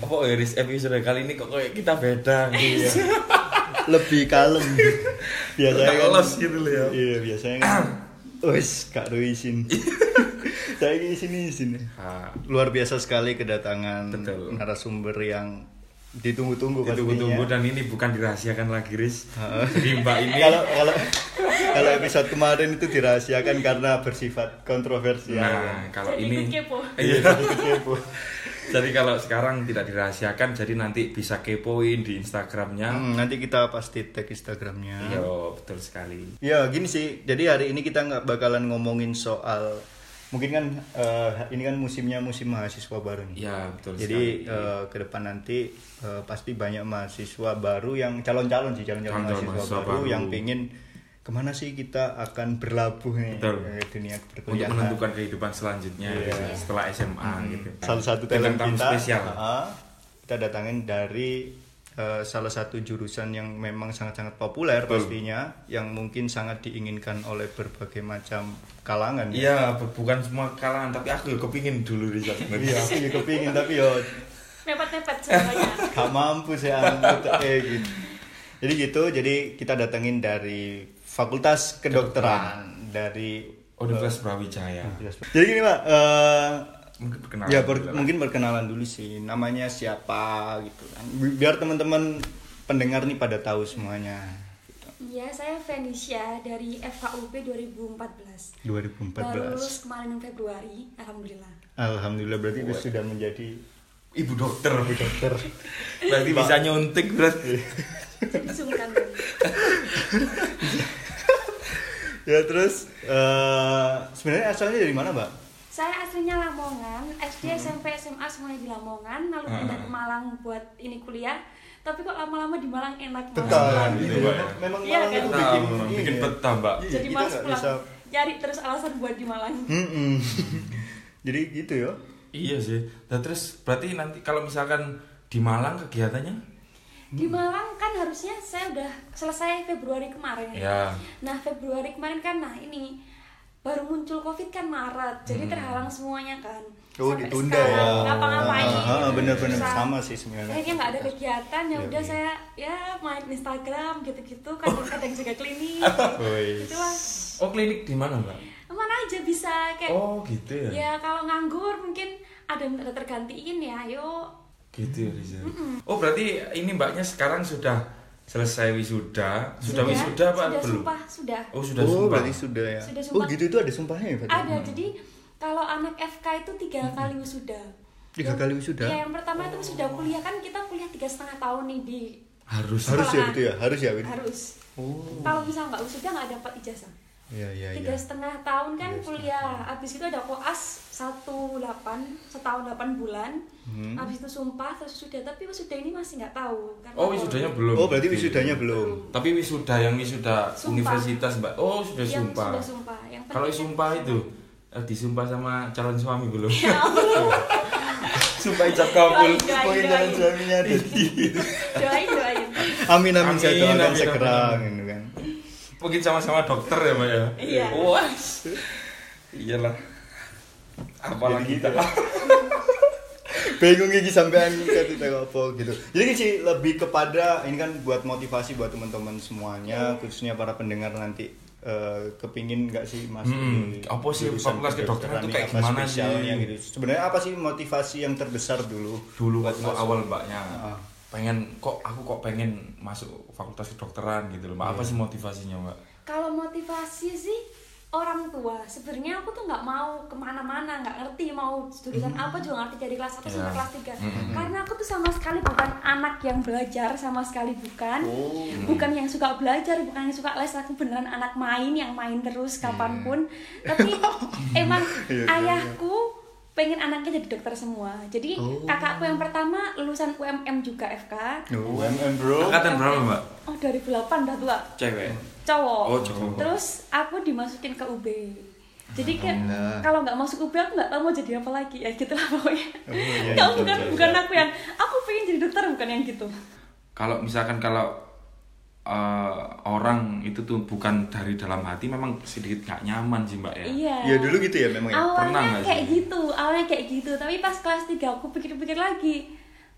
kok Iris oh, ya, episode kali ini kok kayak kita beda gitu Iya, ya. lebih kalem biasanya kan Teles gitu loh ya. iya biasanya kan wes kak Doi izin saya di sini sini Ah, luar biasa sekali kedatangan Betul. narasumber yang ditunggu-tunggu ditunggu-tunggu pastinya. Iya. dan ini bukan dirahasiakan lagi Riz. Jadi Mbak ini kalau kalau kalau episode kemarin itu dirahasiakan karena bersifat kontroversial nah, kalau Jadi ini ikut kepo. Iya. kepo Jadi kalau sekarang tidak dirahasiakan jadi nanti bisa kepoin di Instagramnya. Hmm, nanti kita pasti tag Instagramnya. Iya, betul sekali. Ya gini sih, jadi hari ini kita nggak bakalan ngomongin soal mungkin kan eh, ini kan musimnya musim mahasiswa baru nih. Iya, betul Jadi sekali. eh, ke depan nanti eh, pasti banyak mahasiswa baru yang calon-calon sih calon-calon Calon-calon mahasiswa, mahasiswa baru, baru. yang pengen kemana sih kita akan berlabuh nih Betul. eh, dunia untuk perkuliahan. menentukan kehidupan selanjutnya gitu, setelah SMA gitu. Iya. Hmm. salah satu Dengan talent tamu kita Ah, spesial. heeh, kita datangin dari eh, salah satu jurusan yang memang sangat-sangat populer pastinya yang mungkin sangat diinginkan oleh berbagai macam kalangan ya. Iya, bu- bukan semua kalangan tapi aku ya kepingin dulu Riza iya sebenarnya. aku juga pengen tapi yo Nepet-nepet semuanya. gak mampu sih aku eh, gitu. jadi gitu jadi kita datangin dari fakultas kedokteran dari Universitas Oh, Brawijaya. jadi gini pak eh, Mungkin perkenalan. ya ber- dulu lah. mungkin berkenalan dulu sih namanya siapa gitu kan Bi- biar teman-teman pendengar nih pada tahu semuanya gitu. Iya, saya Venisha dari FKUP 2014. Baru lulus 2014 kemarin Februari, alhamdulillah. alhamdulillah berarti itu sudah menjadi ibu dokter. dokter Iya. Berarti bisa nyuntik berarti. Jadi sungkan dulu. ya terus eh, sebenarnya asalnya dari mana mbak Saya aslinya Lamongan, Hmm. SD, SMP, SMA semuanya di Lamongan, Ah. lalu pindah ke Malang buat ini kuliah. Tapi kok lama-lama di Malang enak Tekan. banget. gitu, Mbak, ya. Iya, memang- memang Iya, malam kan? itu Nah, bikin memang ini bikin ya. peta, Mbak. Iya, Jadi kita males nggak pulang. bisa- Cari terus alasan buat di Malang. Mm-mm. jadi gitu ya Iya sih. Nah, terus berarti nanti kalau misalkan di Malang kegiatannya? Di Hmm. Malang kan harusnya saya udah selesai Februari kemarin. Ya. Iya. Nah Februari kemarin kan nah ini baru muncul COVID kan Maret, jadi terhalang semuanya kan. Hmm. Oh, Sampai ditunda ya. sekarang Ngapa-ngapain? Ah, ah, gitu. bener-bener. Susah. Sama sih sebenarnya. Akhirnya Eh, nggak ada kegiatan, ya Iya, udah iya. saya ya main Instagram gitu-gitu, kadang-kadang juga klinik. Woi. Itulah Oh, klinik di mana, Mbak? mana aja bisa kayak Oh, gitu ya. ya kalau nganggur mungkin ada yang ada tergantiin ya, yuk Gitu ya, Riza. Oh, berarti ini Mbaknya sekarang sudah selesai wisuda. Sudah, wisuda apa sudah belum? sumpah sudah Oh, iya, sudah oh, sumpah. berarti sudah ya. Sudah oh, sumpah. gitu itu ada sumpahnya ya, Pak? ada Hmm. jadi kalau anak FK itu tiga kali wisuda Tiga Yang- kali wisuda? Iya, yang pertama itu wisuda Oh. kuliah kan kita kuliah tiga setengah tahun nih di Harus. Harus ya sekolahan. gitu ya, harus ya. Win? harus Oh. kalau misal nggak wisuda nggak dapat ijazah Iya, iya, tiga iya. setengah tahun kan Tiga setengah kuliah abis itu ada koas satu delapan setahun delapan bulan Hmm. abis itu sumpah terus wisuda tapi wisuda ini masih nggak tahu karena Oh, wisudanya belum. Oh, berarti Gitu. wisudanya belum. Tapi wisuda yang wisuda Sumpah. universitas, Mbak. Oh, sudah yang sumpah. sudah sumpah yang Kalau penting- sumpah itu eh, disumpah sama calon suami belum? sumpah ijab Doain, kabul. doain, Pokoknya jalan doain. suaminya ada di doain doain Amin amin saya Amin, doakan amin, segera amin. gitu kan. Mungkin sama-sama dokter ya, Mbak ya. Iya. Wah. Iyalah. Apalagi Jadi gitu kita. ya. Bingung iki sampean kita apa gitu. Jadi sih lebih kepada ini kan buat motivasi buat teman-teman Hmm. semuanya, khususnya para pendengar nanti eh, kepingin nggak sih masuk Hmm, di apa sih jurusan fakultas kedokteran itu ini, kayak apa gimana spesialnya sih? gitu. Sebenarnya apa sih motivasi yang terbesar dulu? Dulu buat waktu masuk? awal Mbaknya Ah. pengen kok aku kok pengen masuk fakultas kedokteran gitu loh. Mbak. Iya. Apa sih motivasinya, Mbak? Kalau motivasi sih orang tua. Sebenarnya aku tuh nggak mau kemana-mana, nggak ngerti mau jurusan apa juga nggak ngerti dari kelas 1 sampai Iya. kelas 3 Mhm. Karena aku tuh sama sekali bukan anak yang belajar, sama sekali bukan. Bukan yang suka belajar, bukan yang suka les. Aku beneran anak main yang main terus kapanpun. Tapi emang Iya, iya, ayahku pengen anaknya jadi dokter semua. Jadi kakakku yang pertama lulusan UMM juga FK. UMM bro. Angkatan berapa, Mbak? Oh 2008 udah tua Cewek. cowok. Oh, cowok. Terus aku dimasukin ke UB. Jadi kayak kalau nggak masuk UB aku nggak tahu mau jadi apa lagi ya gitu lah pokoknya. Oh, iya, Kalau iya, bukan iya, bukan iya. aku yang aku pengen jadi dokter bukan yang gitu. kalau misalkan kalau eh, orang itu tuh bukan dari dalam hati memang sedikit nggak nyaman sih mbak ya Iya. Ya dulu gitu ya memang ya. Awalnya pernah nggak kayak sih? gitu, awalnya kayak gitu. Tapi pas kelas 3 aku pikir-pikir lagi.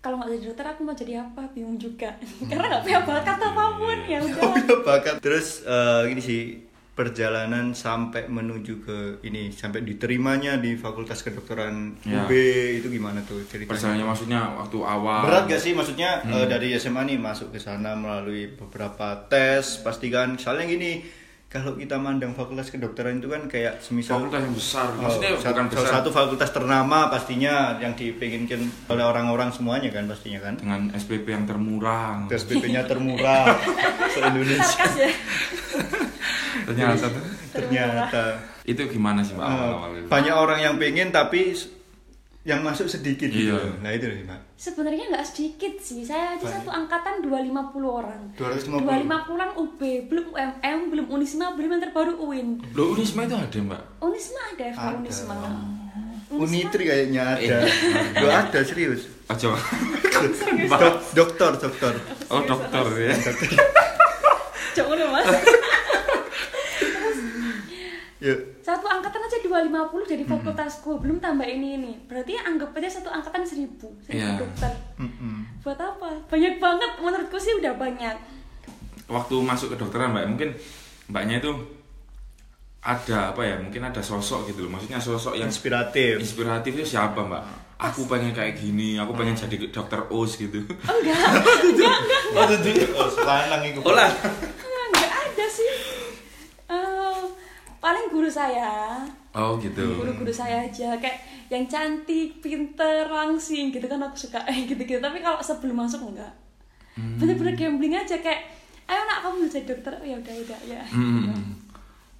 kalau nggak jadi dokter aku mau jadi apa bingung juga karena nggak punya bakat apapun ya udah Oh, punya bakat. Terus eh, gini sih perjalanan sampai menuju ke ini sampai diterimanya di Fakultas Kedokteran Ya. UB itu gimana tuh ceritanya? Perjalanannya maksudnya waktu awal. Berat ya? gak sih maksudnya Hmm. eh, dari SMA nih masuk ke sana melalui beberapa tes pastikan soalnya gini kalau kita mandang Fakultas Kedokteran itu kan kayak semisal Fakultas yang besar. Oh, Maksudnya sa- bukan salah besar. satu fakultas ternama pastinya yang dipenginkan oleh orang-orang semuanya kan pastinya kan Dengan SPP yang termurah. tes PP-nya termurah se Indonesia sarkas ya Ternyata satu. ternyata Itu gimana sih mbak awal-awal eh, itu? banyak orang yang pengen tapi s- yang masuk sedikit Iya. gitu loh. nah itu loh mbak sebenarnya nggak sedikit sih saya aja Baik. satu angkatan 250 orang 250. 250-an UB belum UMM belum Unisma belum yang terbaru UIN Loh Unisma itu ada mbak? Unisma ada FK Ada. Unisma Unitri kayaknya Iya. ada Loh, ada serius Aja. Dok- dokter dokter Oh dokter ya. Jangan dong, mas yuk satu angkatan aja 250 dari Hmm. fakultasku belum tambah ini ini berarti anggap aja satu angkatan 1000 1000 Iya. dokter Mm-mm. buat apa banyak banget menurutku sih udah banyak Waktu masuk ke dokteran mbak mungkin mbaknya itu ada apa ya? Mungkin ada sosok gitu loh. Maksudnya sosok yang inspiratif inspiratif itu siapa mbak? Aku pengen kayak gini, aku pengen jadi dokter Oz gitu. oh enggak enggak enggak oh tujuh oh selanang itu Olah. enggak, enggak ada sih Eh, paling guru saya Oh gitu. guru-guru saya aja kayak yang cantik, pinter, langsing gitu kan aku suka eh gitu-gitu. Tapi kalau sebelum masuk enggak. Hmm. Bener-bener gambling aja kayak ayo nak kamu jadi dokter. Oh, ya udah udah ya. Hmm.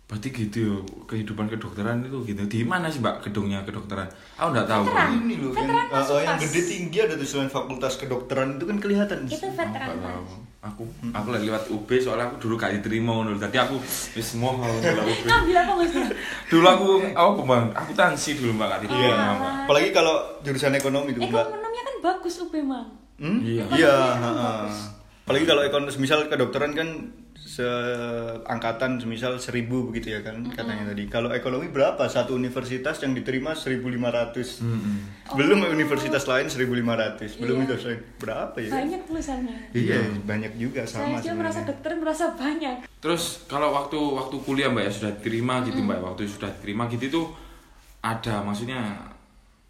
Berarti gitu ya, kehidupan kedokteran itu gitu. Di mana sih Mbak gedungnya kedokteran? Aku nggak tahu. Veteran. ini loh yang, Veteran masuk oh, yang pas. gede tinggi ada tulisan fakultas kedokteran itu kan kelihatan Itu Aku nggak veteran. tahu. Mas. Aku aku lagi lewat UB soalnya aku dulu gak diterima ngono. Tadi aku wis semua mau lewat UB. Ngambil apa maksudnya? Dulu aku aku Bang, aku tansi dulu Mbak gak Iya. diterima. Mbak. Apalagi kalau jurusan ekonomi tuh, Mbak. Ekonominya kan bagus UB Mang. Hmm? Iya. Iya, Ekonomi kan heeh. bagus. Apalagi kalau ekonomi misal kedokteran kan seangkatan semisal seribu begitu ya kan katanya tadi. Kalau ekonomi berapa? Satu universitas yang diterima 1500. Belum universitas lain 1500. Belum Oh. Iya. itu saya berapa ya? Banyak tulisannya. Iya, banyak juga Saya sama aja merasa sebenarnya. dokter merasa banyak. Terus kalau waktu waktu kuliah Mbak ya sudah diterima gitu Mbak, waktu sudah diterima gitu itu ada maksudnya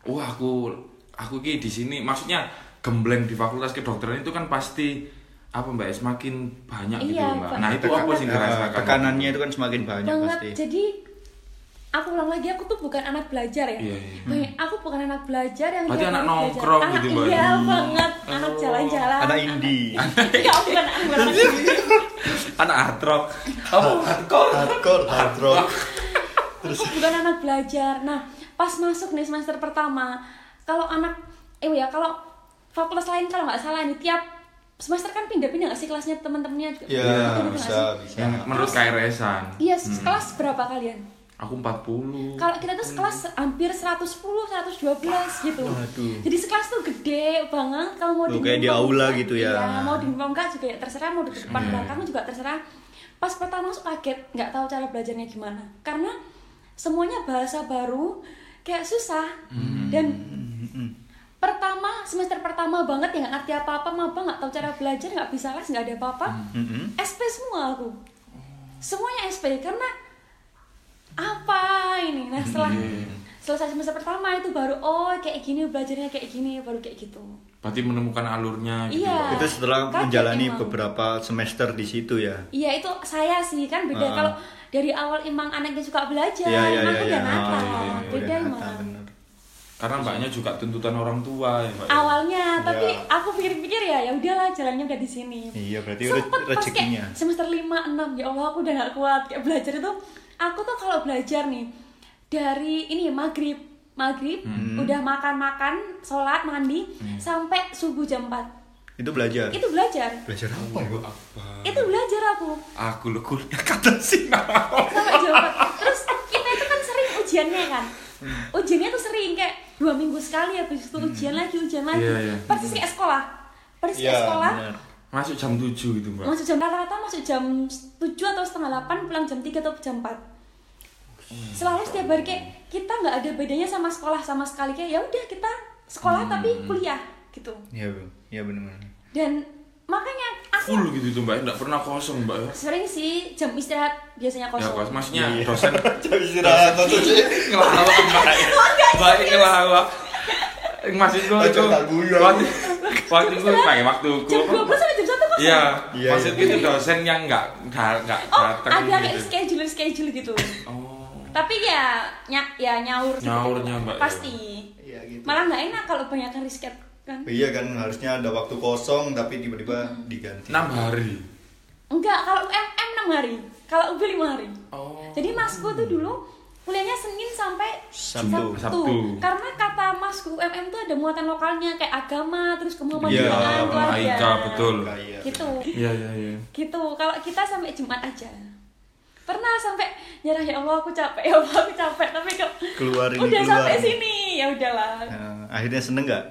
wah aku aku ki di sini maksudnya gembleng di fakultas kedokteran itu kan pasti apa Mbak ya, semakin banyak gitu Iya, Mbak. Pak. Nah, itu Tekan- apa sih yang Nah, dirasakan? tekanannya itu kan semakin banyak banget. pasti. Jadi aku ulang lagi aku tuh bukan anak belajar ya. Iya, iya. Banyak- Aku bukan anak belajar yang Berarti dia anak belajar. nongkrong anak, gitu, Mbak. Iya Hmm. banget, anak Oh. jalan-jalan. Anak indie. Enggak, Ya, bukan anak bukan anak indie. anak atrok. Oh, atrok. Hardcore, hard rock. Aku bukan anak belajar. Nah, pas masuk nih semester pertama, kalau anak eh ya kalau fakultas lain kalau nggak salah nih tiap semester kan pindah-pindah nggak sih kelasnya teman-temannya juga. Iya, Pindah-pindah gitu nggak bisa, Hmm. sih? bisa. Yang menurut KRS-an. Iya, kelas berapa kalian? Aku 40. Kalau kita tuh sekelas hampir 110, 112 gitu. Waduh. Jadi sekelas tuh gede banget kalau mau Tuh, kayak di numpang- aula gitu ya. Hmm. Iya, mau di numpang enggak juga ya terserah, mau di depan belakang kan juga terserah. Pas pertama masuk kaget, nggak tahu cara belajarnya gimana. Karena semuanya bahasa baru, kayak susah. Hmm. Dan pertama semester pertama banget ya nggak ngerti apa-apa, maba nggak tahu cara belajar, nggak bisa les, nggak ada apa-apa. Mm-mm. SP semua Oh. aku. Semuanya SP karena apa ini nah setelah Hmm. selesai semester pertama itu baru oh kayak gini belajarnya kayak gini baru kayak gitu Berarti menemukan alurnya gitu. Iya. Mbak. Itu setelah Kaget menjalani emang. beberapa semester di situ ya. iya itu saya sih kan beda Ah. kalau dari awal emang anaknya suka belajar Iya, iya, emang kan iya, iya. udah nakal Ah, iya, iya, beda udah emang nakal, bener. Karena mbaknya juga tuntutan orang tua ya, Mbak. ya. awalnya tapi Iya. aku pikir-pikir ya ya udahlah jalannya udah di sini Iya, berarti Sempet re- pas rezekinya. kayak semester 5 6 ya Allah aku udah gak kuat kayak belajar itu aku tuh kalau belajar nih dari ini maghrib maghrib Hmm. udah makan-makan sholat mandi sampai subuh jam 4 Itu belajar. itu belajar Belajar apa ya? Aku apa? itu belajar aku Aku lo kuliah kata sinar. sampai jam 4 terus kita itu kan sering ujiannya kan Hmm. ujiannya tuh sering kayak dua minggu sekali habis itu ujian lagi ujian lagi Iya, iya. persis kayak sekolah persis Iya, kayak sekolah bener. Masuk jam 7 gitu, Mbak. masuk jam rata-rata masuk jam 7 atau setengah 8 pulang jam 3 atau jam 4 Hmm. selalu setiap Hmm. hari kayak kita nggak ada bedanya sama sekolah sama sekali kayak ya udah kita sekolah tapi kuliah gitu Iya bro, iya benar-benar. dan makanya aku full gitu tuh mbak nggak pernah kosong mbak ya sering sih jam istirahat biasanya ya kosong kos maksudnya Iya, iya. dosen Coba istirahat atau sih? ngelawak mbak mbak ngelawak maksudku Ojo itu tak guyu aku. waktu waktu itu pakai waktuku jam 12 sampai jam 1 kosong iya Iya, maksudku iya. itu dosen yang nggak nggak nggak oh ada datang kayak gitu schedule schedule gitu oh tapi ya nyak ya nyaur gitu. Nyaurnya, Mbak, ya. pasti Iya gitu. malah nggak enak kalau banyak riset kan Iya kan harusnya ada waktu kosong tapi Hmm. tiba-tiba diganti. enam hari enggak kalau UMM 6 hari kalau UB 5 hari oh jadi masku tuh dulu kuliahnya Senin sampai Sabtu. Sabtu. Sabtu. Karena kata masku UMM tuh ada muatan lokalnya kayak agama, terus Iya, kemahmudiaan Maika betul Kayak Gitu. iya iya iya Gitu. Kalau kita sampai Jumat aja. Pernah sampai nyerah ya Allah aku capek, ya Allah aku capek, tapi kok Keluar ini, udah keluar. sampai sini. Ya udahlah. Nah, akhirnya seneng nggak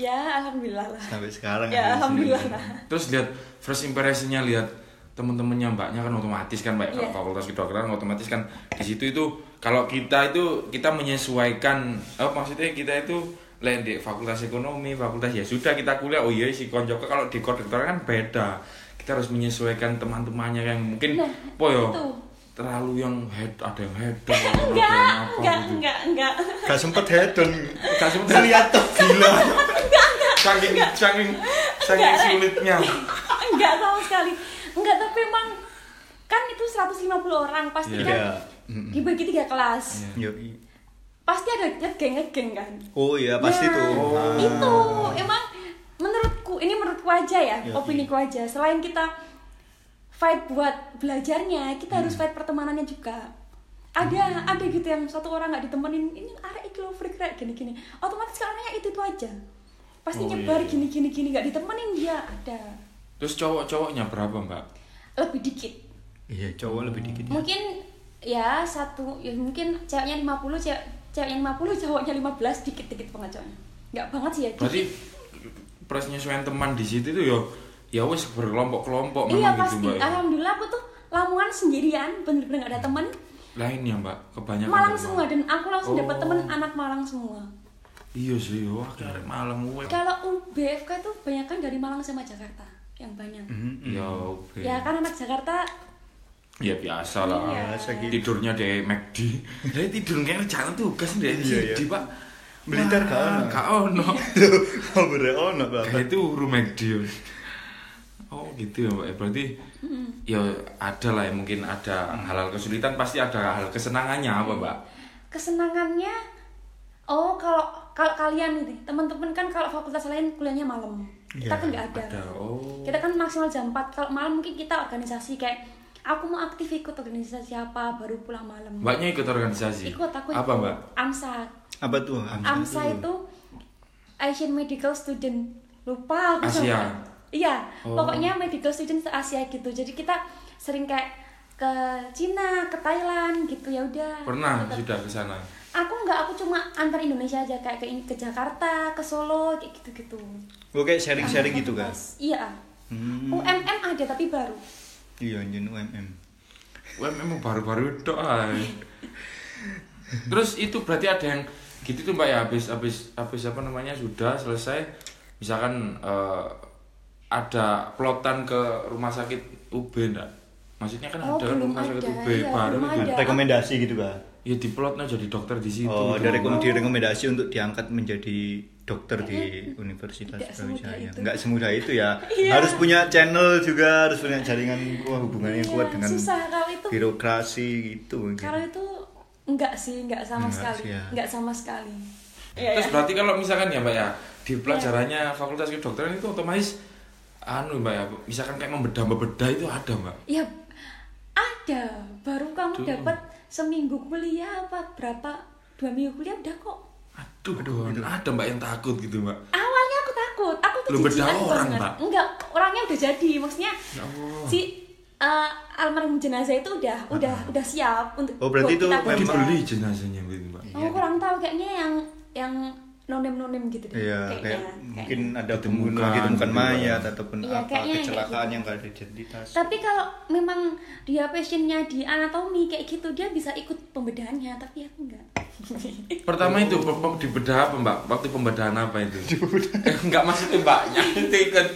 Ya alhamdulillah lah. sampai sekarang? Ya akhirnya alhamdulillah seneng. lah. terus lihat first impressionnya lihat temen-temennya mbaknya kan otomatis kan mbak Iya. kalau fakultas kedokteran otomatis kan di situ itu kalau kita itu kita menyesuaikan eh, maksudnya kita itu lain di fakultas ekonomi fakultas ya sudah kita kuliah oh iya si konjok kalau di kedokteran kan beda kita harus menyesuaikan teman-temannya yang mungkin Nah, po yo, itu. terlalu yang head ada yang head ada Enggak, yang apa enggak, gitu. enggak, enggak. Gak sempet hedon. Gak sempet. kelihatan gila. saking saking saking Enggak, Rek. sulitnya enggak sama sekali enggak tapi emang kan itu 150 orang pasti Iya. kan Iya. dibagi tiga kelas Iya. Yoi. pasti ada geng geng kan Oh iya pasti Nah, tuh. Ah. itu emang menurutku ini menurutku aja ya Iya, opini ku aja selain kita fight buat belajarnya kita harus Hmm. fight pertemanannya juga ada ada gitu yang satu orang nggak ditemenin ini arek iki lo freak rek gini gini otomatis kalau nanya itu itu aja pasti Oh, nyebar iya. gini gini gini nggak ditemenin ya ada terus cowok-cowoknya berapa mbak lebih dikit Iya cowok lebih dikit. Hmm. ya. mungkin ya satu ya mungkin ceweknya 50 cewek ceweknya 50 cowoknya 15 dikit-dikit banget cowoknya nggak banget sih ya dikit. berarti persenyesuaian teman di situ tuh ya ya wes berkelompok-kelompok iya memang gitu pasti mbak ya. alhamdulillah aku tuh lamongan sendirian bener-bener nggak ada temen lainnya ya, mbak kebanyakan Malang dari semua dan aku langsung Oh. dapet temen anak Malang semua iya sih wah dari malam gue kalau UBFK tuh banyak kan dari Malang sama Jakarta yang banyak ya oke ya kan anak Jakarta ya biasa lah Iya. Biasa gitu. tidurnya di McD dari tidur kayak rencana tugas dari Iya, iya. di pak Blitar gak ono. gak ono Oh bener oh nak Kayak itu huruf McD Yos. ya. Oh gitu ya Mbak. Berarti ya ada lah ya mungkin ada hal-hal kesulitan pasti ada hal kesenangannya apa Mbak? kesenangannya oh kalau kalau kalian nih teman-teman kan kalau fakultas lain kuliahnya malam kita Iya, kan nggak Ada oh. kita kan maksimal jam 4 kalau malam mungkin kita organisasi kayak aku mau aktif ikut organisasi apa baru pulang malam Mbaknya ikut organisasi. ikut aku Apa ikut. Mbak? AMSA Apa tuh? AMSA Iya. itu Asian Medical Student lupa aku Asia. sama- iya Oh. pokoknya medical student se Asia gitu jadi kita sering kayak ke Cina ke Thailand gitu ya udah Pernah Gitu. sudah ke sana. aku nggak aku cuma antar Indonesia aja kayak ke ke Jakarta ke Solo kayak gitu gitu Gue kayak sharing-sharing gitu kan. iya Hmm. UMM ada tapi baru Iya anjing UMM. Wah memang baru-baru itu Terus itu berarti ada yang gitu tuh Mbak ya habis habis habis apa namanya sudah selesai misalkan eh, ada plotan ke rumah sakit UB enggak? Maksudnya kan Oh, ada belum rumah sakit ada, UB iya, baru belum itu. ada. Rekomendasi gitu kan. Ya di plotnya jadi dokter di situ. Oh, ada rekom Oh. direkomendasi untuk diangkat menjadi dokter di Universitas Tidak semudah Brawijaya. itu. Enggak semudah itu ya. Iya. Harus punya channel juga, harus punya jaringan wah, hubungannya Iya, kuat dengan susah kalau itu birokrasi gitu mungkin. kalau itu enggak sih enggak sama Enggak sekali sih, ya. enggak sama sekali Iya, Terus ya. berarti kalau misalkan ya Mbak ya di pelajarannya fakultas kedokteran itu otomatis anu Mbak ya, misalkan kayak membedah-membedah itu ada Mbak. ya ada baru kamu Tuh. dapat seminggu kuliah apa berapa dua minggu kuliah udah kok Aduh, aduh ada Mbak yang takut gitu Mbak. awalnya aku takut aku tuh Lu jijikan bedah orang, banget. Mbak? enggak orangnya udah jadi maksudnya Ya Allah. si eh, almarhum jenazah itu udah udah udah siap untuk Oh, berarti buat itu kita Kok Memang- kerja. dibeli jenazahnya gitu Mbak. aku kurang tahu kayaknya yang yang nonim nonim gitu deh Iya, kayak, mungkin ada Ditemukan, pembunuhan gitu, bukan gitu. mayat ataupun Iya, apa kayaknya kayak kecelakaan gitu. yang gak ada identitas. Tapi kalau memang dia passionnya di anatomi kayak gitu dia bisa ikut pembedahannya tapi aku enggak. Pertama itu pe- pe- di bedah apa mbak? Waktu pembedahan apa itu? Eh, Enggak maksudnya mbaknya itu ikut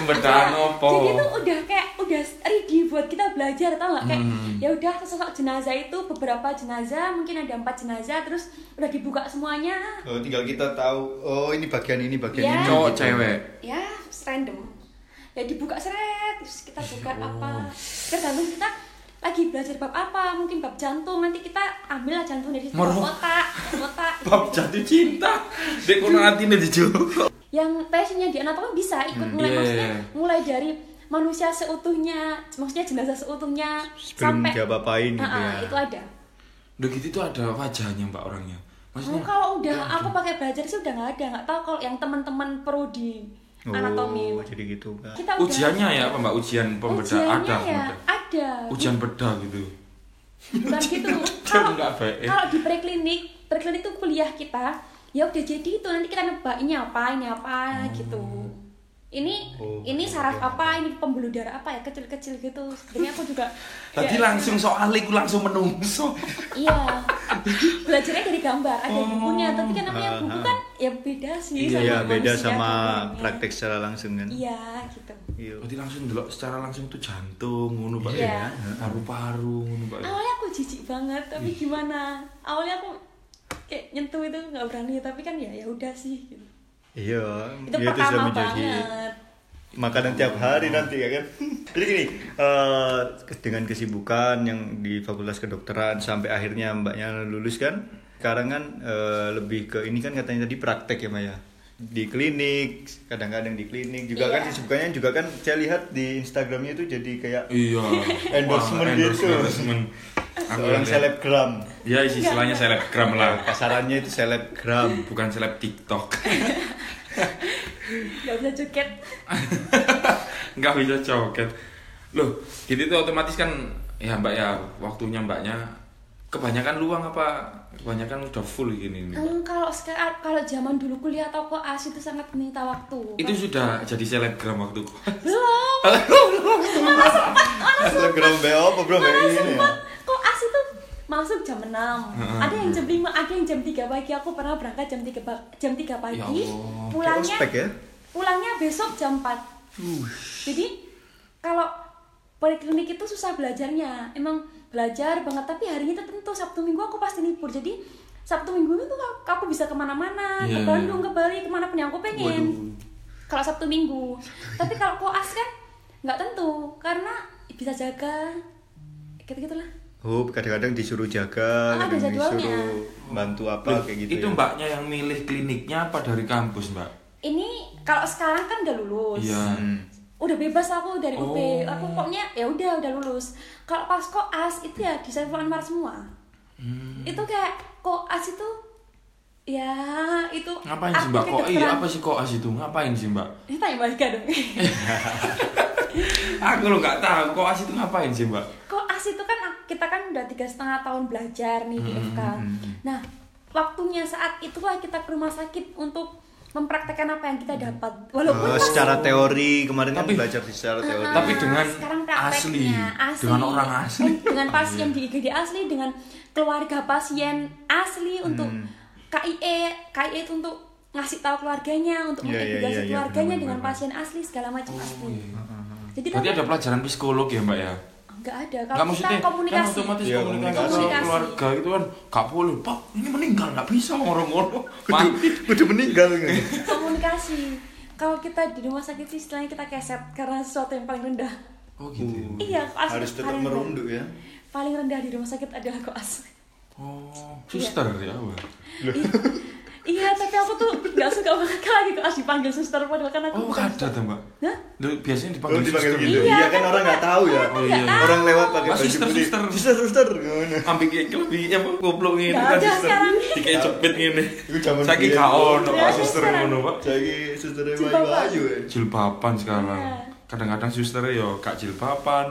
pembedahan apa? Jadi itu udah kayak udah ready buat kita belajar tau nggak kayak ya udah sosok jenazah itu beberapa jenazah mungkin ada empat jenazah terus udah dibuka semuanya Oh, tinggal kita tahu oh ini bagian ini bagian Ya. ini Cowok gitu. cewek. ya random ya dibuka seret terus kita buka apa tergantung kita lagi belajar bab apa mungkin bab jantung nanti kita ambil lah jantung dari situ, bab Merokok. otak bab otak Bab jatuh cinta. Dek kono atine dijoko. yang passionnya di anatomi bisa ikut Hmm, mulai iya, maksudnya iya. mulai dari manusia seutuhnya maksudnya jenazah seutuhnya Sebelum sampai diapa-apain gitu Ah, ah, ya. itu ada Udah gitu tuh ada wajahnya mbak orangnya. Oh, Maksudnya kalau udah aku pakai belajar sih udah nggak ada nggak tahu kalau yang teman-teman prodi Oh, anatomi jadi gitu. Kak. kita udah ujiannya ya apa mbak ujian kan? pembeda Ujiannya ada ya pembeda. ada ujian bedah gitu. bukan gitu Ujian kalau nggak baik. kalau di preklinik preklinik itu kuliah kita ya udah jadi itu nanti kita nebak ini apa ini apa gitu ini Hmm. Oh, ini oke, saraf oke. apa ini pembuluh darah apa ya kecil-kecil gitu sebenarnya aku juga Tadi ya, langsung soal iku langsung menungso. iya belajarnya dari gambar ada bukunya tapi kan namanya buku Ah, ah. kan ya beda sih Oh. Iya, sama ya, beda manusia sama gambarnya. praktek secara langsung kan. iya gitu Iya. Berarti langsung delok secara langsung tuh jantung ngono Pak. Iya. ya. Paru-paru ngono Pak. awalnya aku jijik banget tapi gimana awalnya aku kayak nyentuh itu nggak berani tapi kan ya ya udah sih gitu. Iya, itu dia itu sudah pertama menjadi banget makanan tiap hari nanti ya kan. Jadi gini, eh, dengan kesibukan yang di Fakultas Kedokteran sampai akhirnya mbaknya lulus kan. Sekarang kan eh, lebih ke ini kan katanya tadi praktek ya Maya di klinik, kadang-kadang di klinik juga Iya. kan kesibukannya juga kan saya lihat di Instagramnya itu jadi kayak Iya. Endorsement Wah, gitu. endorsement, endorsement. iya, Aku seorang lihat. selebgram. Ya isi istilahnya selebgram lah. Kasarannya itu selebgram. Bukan seleb TikTok. nggak bisa joget Nggak bisa joget. Loh, gitu tuh otomatis kan ya Mbak ya waktunya Mbaknya kebanyakan luang apa kebanyakan udah full gini nih, Mbak? Em, kalau sekarang kalau zaman dulu kuliah atau koas itu sangat menyita waktu Itu sudah jadi selebgram waktu. belum selebgram BO apa bro? malah Kayak ini ya? sempat koas itu masuk jam 6 ada yang jam 5, ada yang jam 3 pagi aku pernah berangkat jam 3, ba- jam 3 Ya pagi Allah. Kayak pulangnya ospek ya? pulangnya besok jam 4 jadi kalau poliklinik itu susah belajarnya emang belajar banget tapi harinya tertentu Sabtu Minggu aku pasti libur jadi Sabtu Minggu itu aku- aku bisa kemana-mana ke Iya. Bandung ke Bali kemana pun yang aku pengen kalau Sabtu Minggu tapi kalau koas kan nggak tentu karena bisa jaga gitu gitulah Oh, kadang-kadang disuruh jaga, Ah, ada kadang jadwalnya. disuruh bantu Loh, apa kayak gitu. itu ya. Mbaknya yang milih kliniknya apa dari kampus, Mbak? ini kalau sekarang kan udah lulus Iya. Hmm. udah bebas aku dari UB Oh. aku pokoknya ya udah udah lulus kalau pas koas itu ya di Saiful Anwar semua Hmm. itu kayak koas itu ya itu Ngapain aku sih Mbak? Kok iya kedokteran. apa sih koas itu? Ngapain sih Mbak? ini tanya Mbak Ika dong Aku lo nggak tahu koas itu ngapain sih Mbak? koas itu kan kita kan udah tiga setengah tahun belajar nih Hmm, di FK nah waktunya saat itulah kita ke rumah sakit untuk mempraktekkan apa yang Hmm. kita dapat walaupun kan Oh, masih- secara teori kemarin kan Tapi- belajar secara teori. Ah, Tapi dengan sekarang asli, prakteknya, asli. dengan orang asli. Eh, dengan pasien di IGD asli, dengan keluarga pasien asli Hmm. untuk E, KIE, KIE itu untuk ngasih tahu keluarganya, untuk Iya, iya, mengedukasi iya, iya, keluarganya benar, dengan benar, pasien asli segala macam asli. Jadi Oh, iya. Berarti tapi- ada pelajaran psikolog ya Mbak ya? nggak ada Nggak kalau maksudnya kita kan komunikasi. otomatis Iya, komunikasi, komunikasi. sama keluarga gitu kan nggak boleh. Pak ini meninggal nggak bisa ngorong-ngorong. Mati. Udah meninggal kan? Iya, komunikasi. Kalau kita di rumah sakit sih istilahnya kita keset karena sesuatu yang paling rendah. Oh gitu. ya? Iya, koas Hmm. Harus tetap paling rendah. merunduk ya. Paling rendah di rumah sakit adalah koas. Oh suster ya Mbak. Iya. Iya, tapi aku tuh gak suka banget kalau lagi kelas dipanggil suster padahal kan aku Oh bukan ada tuh Mbak. Hah? Duh, biasanya Belum dipanggil dipanggil suster. gitu. Iya, Iya kan kan orang nggak tahu ya. Oh, iya. Orang lewat pakai Mas, baju suster, putih. suster. Suster, suster. Gimana? Ambil kayak lebih apa goblok ini Nggak ada sekarang. Kayak jepit ini. Itu zaman Saking dulu. kaon Pak Nggak ada suster sekarang. ngono Pak. Jadi susternya Jilbab maju-maju ya. jilbaban sekarang Iya. kadang-kadang suster yo kak jilbaban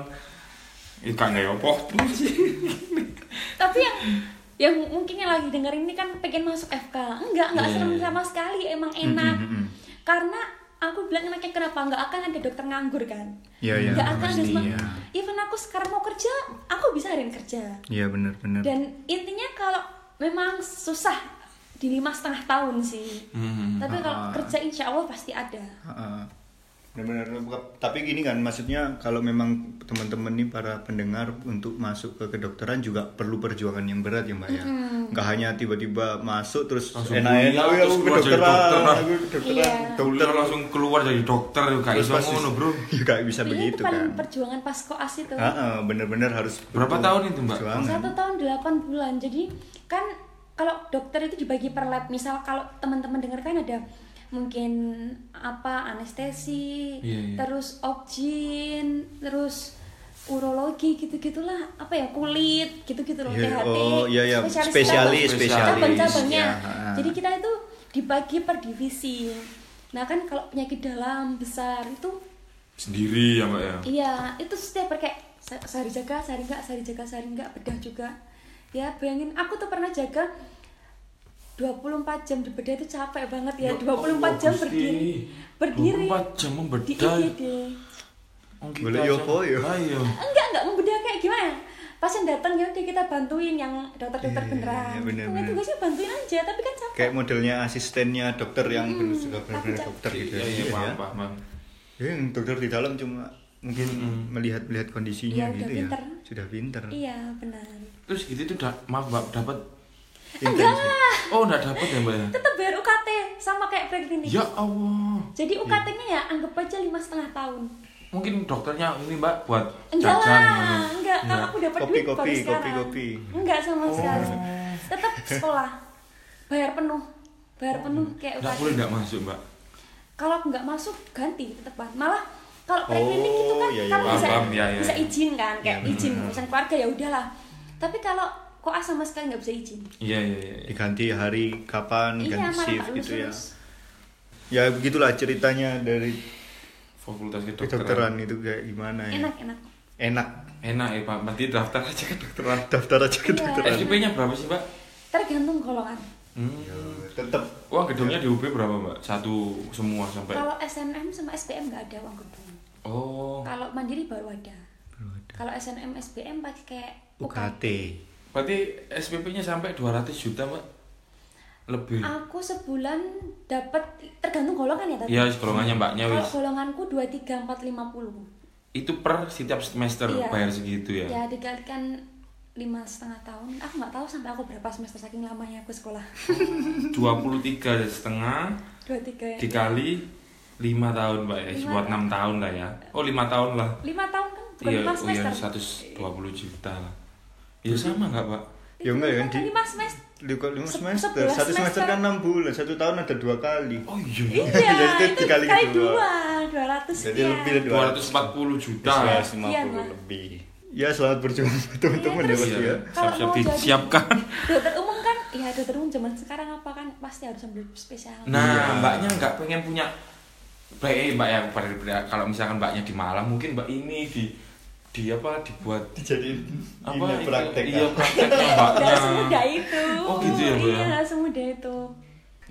ya kak nggak apa sih Tapi yang yang mungkin yang lagi dengerin ini kan pengen masuk FK. Enggak, enggak Iya. serem sama sekali, emang Hmm, enak. Karena aku bilang enaknya kenapa enggak akan ada dokter nganggur kan? Iya, iya, Enggak akan ada pasti, semua. iya. Even aku sekarang mau kerja, aku bisa hari ini kerja. Iya benar-benar. Dan intinya kalau memang susah di lima setengah tahun sih Hmm. tapi kalau Ah. kerja insya Allah pasti ada Heeh. Benar-benar lengkap. tapi gini kan maksudnya kalau memang teman-teman nih para pendengar untuk masuk ke kedokteran juga perlu perjuangan yang berat ya mbak ya nggak hanya tiba-tiba masuk terus Langsung enak-enak kuliah, "Wih, terus aku keluar jadi kedokteran dokter." aku kedokteran Iya. Dokter langsung keluar jadi dokter juga Terus iso pasti- ngono, Bro. ya nggak bisa Dulu begitu itu Iya, paling kan perjuangan pas koas itu Heeh, bener-bener harus Berapa butuh tahun itu, Mbak? perjuangan. satu tahun delapan bulan jadi kan kalau dokter itu dibagi per lab misal kalau teman-teman dengar kan ada mungkin apa anestesi Iya, iya. terus objin terus urologi gitu gitulah apa ya kulit gitu gitu loh Iya, THT oh, iya, iya. spesialis Spesialis, spesialis. cabang-cabangnya Iya, ha. jadi kita itu dibagi per divisi nah kan kalau penyakit dalam besar itu Sendiri ya, Mbak ya. Iya, itu setiap hari kayak se- sehari jaga, sehari enggak, sehari jaga, sehari enggak, bedah juga. Ya, bayangin aku tuh pernah jaga 24 jam di bedah itu capek banget ya. 24 jam Gusti. berdiri. Berdiri. 24 jam Di membedah. ya. IGD. Oh, kita Boleh ya, aja. yopo, yo. Ayo. Enggak, enggak membedah kayak gimana? Pasien datang ya udah kita bantuin yang dokter-dokter Iya, beneran. iya, bener, bener. Tugas-tugasnya bantuin aja, tapi kan capek. kayak modelnya asistennya dokter yang Hmm, bener- bener-bener tapi- dokter gitu Iya, ya iya, paham, Iya. paham, paham. Ya, yang dokter di dalam cuma mungkin melihat-lihat Iya, kondisinya udah gitu ya. pinter. Sudah pinter. Iya, benar. Terus gitu tuh da- maaf Mbak dapat. Enggak Intensif. lah, Oh, enggak dapat ya, Mbak ya. tetap bayar UKT sama kayak preklinik. Ya Allah. Jadi UKT-nya ya anggap aja lima setengah tahun. Mungkin dokternya ini Mbak buat enggak jajan lah gitu. enggak kalau aku dapat Kopi, duit baru kopi, kopi, sekarang kopi. Oh. enggak sama sekali tetap sekolah bayar penuh bayar penuh Hmm. kayak Enggak UKT. boleh enggak masuk, Mbak. kalau aku nggak masuk ganti tetap banget. malah kalau preklinik itu kan Oh, iya, iya. kan bisa Paham, iya, iya, bisa iya. izin kan kayak izin urusan keluarga ya udahlah tapi kalau koas sama sekali nggak bisa izin Iya, iya, iya. Diganti hari kapan, iya ganti malah shift nggak gitu ya. lulus Ya begitulah ceritanya dari Fakultas kedokteran. kedokteran itu kayak gimana ya. enak enak Enak. Enak ya, Pak. Nanti daftar aja kedokteran. Daftar aja Iya. kedokteran. Iya. SPP-nya berapa sih, Mbak? tergantung golongan Hmm. Tetap Uang gedungnya di UB berapa, Mbak? Satu semua sampai. kalau SNM sama SPM nggak ada uang gedung Oh. kalau mandiri baru ada kalau SNM SBM pakai UKT. Berarti SPP-nya sampai 200 juta, Mbak? Lebih. Aku sebulan dapat tergantung golongan ya tadi. Iya, golongannya Mbaknya Kalau wis. golonganku 2 3 4 50. Itu per setiap semester Iya. bayar segitu ya. Ya dikalikan lima setengah tahun. Aku nggak tahu sampai aku berapa semester saking lamanya aku sekolah. 23 setengah 2 3 ya. dikali 5 tahun, Mbak ya. Lima Buat 6 tahun lah ya. Oh, 5 tahun lah. 5 tahun kan bukan Iya, lima oh iya semester. 120 juta lah. Ya sama nggak, Pak? Ya enggak ya, di- 5 kan semester. Lima, lima Se- semester, sebelas satu semester semester. kan enam bulan, satu tahun ada dua kali. Oh iya. ya. Iya, Jadi itu dikali dikali dua. 2, 200 Jadi sekian. lebih dari 200. 240 juta. ya. Iya. 250 lebih. Ya selamat berjuang teman-teman Iya, ya terus- pasti ya. Kalau Siap-siap mau jadi- disiapkan. Dokter umum kan, ya dokter umum zaman sekarang apa kan pasti harus ambil spesialis. Nah, Iya. mbaknya nggak pengen punya Baik, eh, mbak ya pada- pada- kalau misalkan mbaknya di Malang mungkin mbak ini di di apa dibuat Jadi apa ini itu- praktek. iya kan? praktek mbaknya Gak semudah itu. Oh, gitu ya, Bu, ya? Iya, gak semudah itu.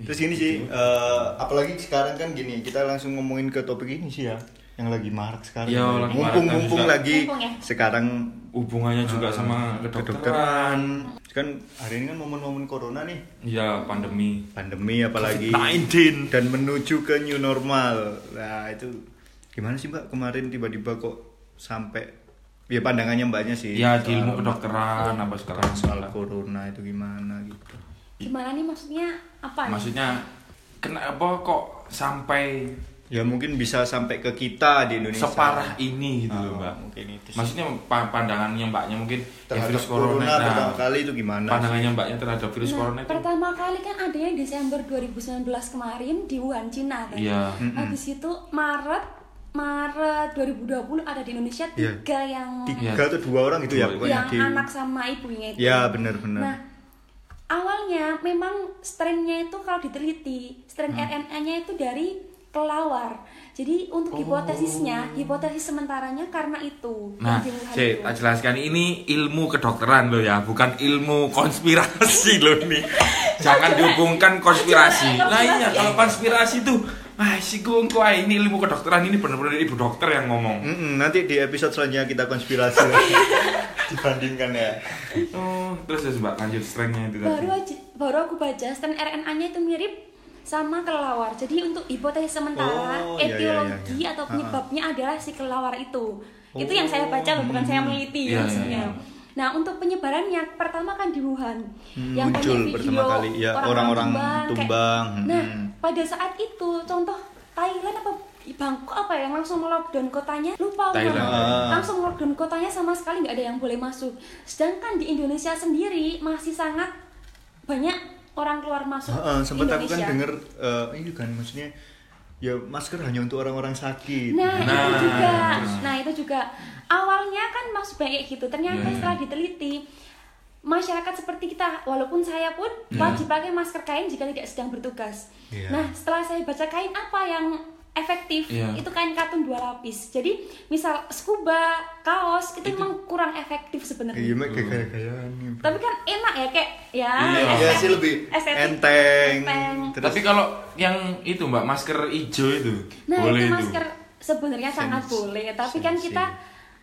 Terus gini sih, eh, apalagi sekarang kan gini, kita langsung ngomongin ke topik ini sih ya, yang lagi marak sekarang. Iya, lagi marak, mumpung tapi mumpung juga- lagi Mumpung ya. sekarang hubungannya juga eh, sama kedokteran kedokteran. Kan hari ini kan momen-momen corona nih, ya pandemi pandemi apalagi COVID-19. dan menuju ke new normal. Nah, itu gimana sih Mbak kemarin tiba-tiba kok sampai ya pandangannya Mbaknya sih. ya di ilmu soal- kedokteran apa sekarang soal corona itu gimana gitu. Gimana nih maksudnya apa? nih? maksudnya kenapa kok sampai Ya mungkin bisa sampai ke kita di Indonesia. separah ini gitu loh Oh, mbak mungkin itu sih. maksudnya pa- pandangannya mbaknya mungkin ya, terhadap corona nah, pertama kali itu gimana? sih? pandangannya mbaknya terhadap virus Nah, corona itu pertama kali kan adanya Desember 2019 kemarin di Wuhan, Cina kan. Iya. Habis itu Maret Maret 2020 ada di Indonesia Iya. tiga yang Iya. tiga atau dua orang gitu Dua. ya iya. pokoknya yang di anak sama ibunya itu. Ya, benar-benar. Nah, awalnya memang strainnya itu kalau diteliti, strain Hmm. RNA-nya itu dari kelawar. Jadi untuk Oh. hipotesisnya, hipotesis sementaranya karena itu. Nah, yang di Wuhan saya itu. jelaskan ini ilmu kedokteran loh ya, bukan ilmu konspirasi loh nih. Jangan dihubungkan konspirasi. Jangan, Nah iya, konspirasi. kalau konspirasi tuh ah si gongko ah, ini ilmu kedokteran ini benar-benar ibu dokter yang ngomong Mm-mm, nanti di episode selanjutnya kita konspirasi dibandingkan ya. oh terus ya mbak lanjut strengthnya itu tadi baru aja baru aku baca stand RNA-nya itu mirip sama kelelawar. Jadi untuk hipotesis sementara Oh, iya, iya, iya, etiologi iya. atau Ah, ah. penyebabnya adalah si kelelawar itu. Itu yang saya baca loh, bukan Hmm. saya meneliti Iya, iya, maksudnya. iya. Nah, untuk penyebarannya pertama kan di Wuhan. Hmm, muncul banyak pertama video kali, ya, orang-orang kayak- tumbang. Nah, Hmm. pada saat itu contoh Thailand apa Bangkok apa ya, yang langsung melockdown kotanya lupa aku Thailand. Ah. namanya. langsung lockdown kotanya sama sekali nggak ada yang boleh masuk sedangkan di Indonesia sendiri masih sangat banyak orang keluar masuk Heeh, sempat aku Indonesia kan denger eh, ini kan maksudnya ya masker hanya untuk orang-orang sakit. nah, itu Nah. juga Terus. nah itu juga awalnya kan masuk banyak gitu ternyata Iya. setelah diteliti masyarakat seperti kita walaupun saya pun wajib pakai masker kain jika tidak sedang bertugas Iya. nah setelah saya baca kain apa yang efektif Iya. itu kain katun dua lapis jadi misal scuba kaos itu, memang kurang efektif sebenarnya Iya, mak kayak Hmm. gaya-gayaan. gitu. tapi kan enak ya kayak ya Iya. Iya estetik- sih lebih estetik. enteng. Enteng. Terus tapi kalau yang itu mbak masker hijau itu Nah itu boleh itu masker sebenarnya sangat Sensi- boleh, tapi kan sensi. kita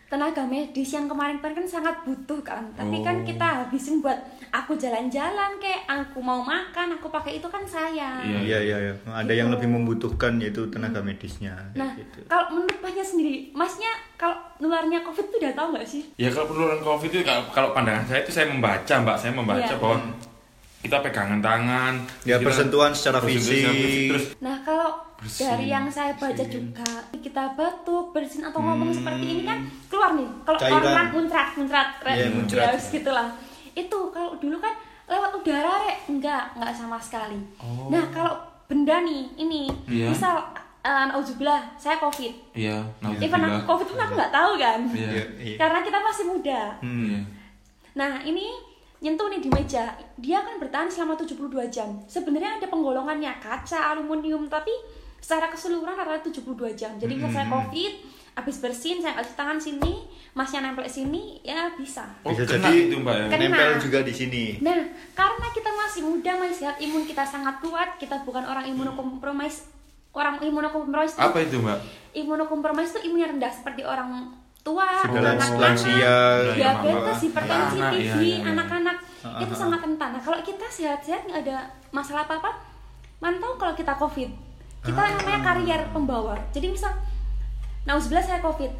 tenaga medis yang kemarin-kemarin kan sangat butuh kan. Tapi kan Oh. kita habisin buat aku jalan-jalan kayak aku mau makan, aku pakai itu kan sayang. Iya. Iya iya iya. Ada yang lebih membutuhkan yaitu tenaga medisnya. Nah kayak gitu. kalau menurut masnya sendiri, masnya kalau nularnya covid tuh udah tahu nggak sih? Ya kalau penularan COVID itu kalau, kalau pandangan saya itu saya membaca mbak, saya membaca Iya. bahwa kita pegangan tangan, Ya, kita- persentuhan secara persentuhan secara fisik. terus Nah kalau Bersin, Hmm. dari yang saya baca juga kita batuk, bersin atau ngomong seperti ini kan keluar nih. Kalau Cairan. orang muncrat, muncrat, rek, Iya, muncrat. ya harus gitulah. Itu kalau dulu kan lewat udara rek, enggak, enggak sama sekali. Oh. Nah kalau benda nih ini, Iya. misal eh Nauzubillah, saya covid. iya, nah, Even aku covid pun aku nggak tahu kan, Iya. Iya, iya. karena kita masih muda. Iya. Nah, ini nyentuh nih di meja. Dia kan bertahan selama 72 jam. Sebenarnya ada penggolongannya kaca, aluminium, tapi secara keseluruhan adalah 72 jam. Jadi kalau saya Covid, habis bersin, saya kasih tangan sini, masnya nempel sini, ya bisa. Oh, Bisa kena jadi itu, Mbak, ya? Kena. nempel juga di sini. Nah, karena kita masih muda, masih sehat, imun kita sangat kuat, kita bukan orang imunokompromis. Orang imunokompromis itu- Apa itu mbak? imunokompromis itu imunnya rendah seperti orang tua, Segala lansia, anak-anak. diabetes, hipertensi, Anak, iya, TB, iya, iya. anak-anak Ah, itu ah, sangat rentan. Nah, kalau kita sehat-sehat nggak ada masalah apa-apa, mantau kalau kita COVID. Kita yang namanya Ah. karier pembawa. Jadi misal, nah saya COVID,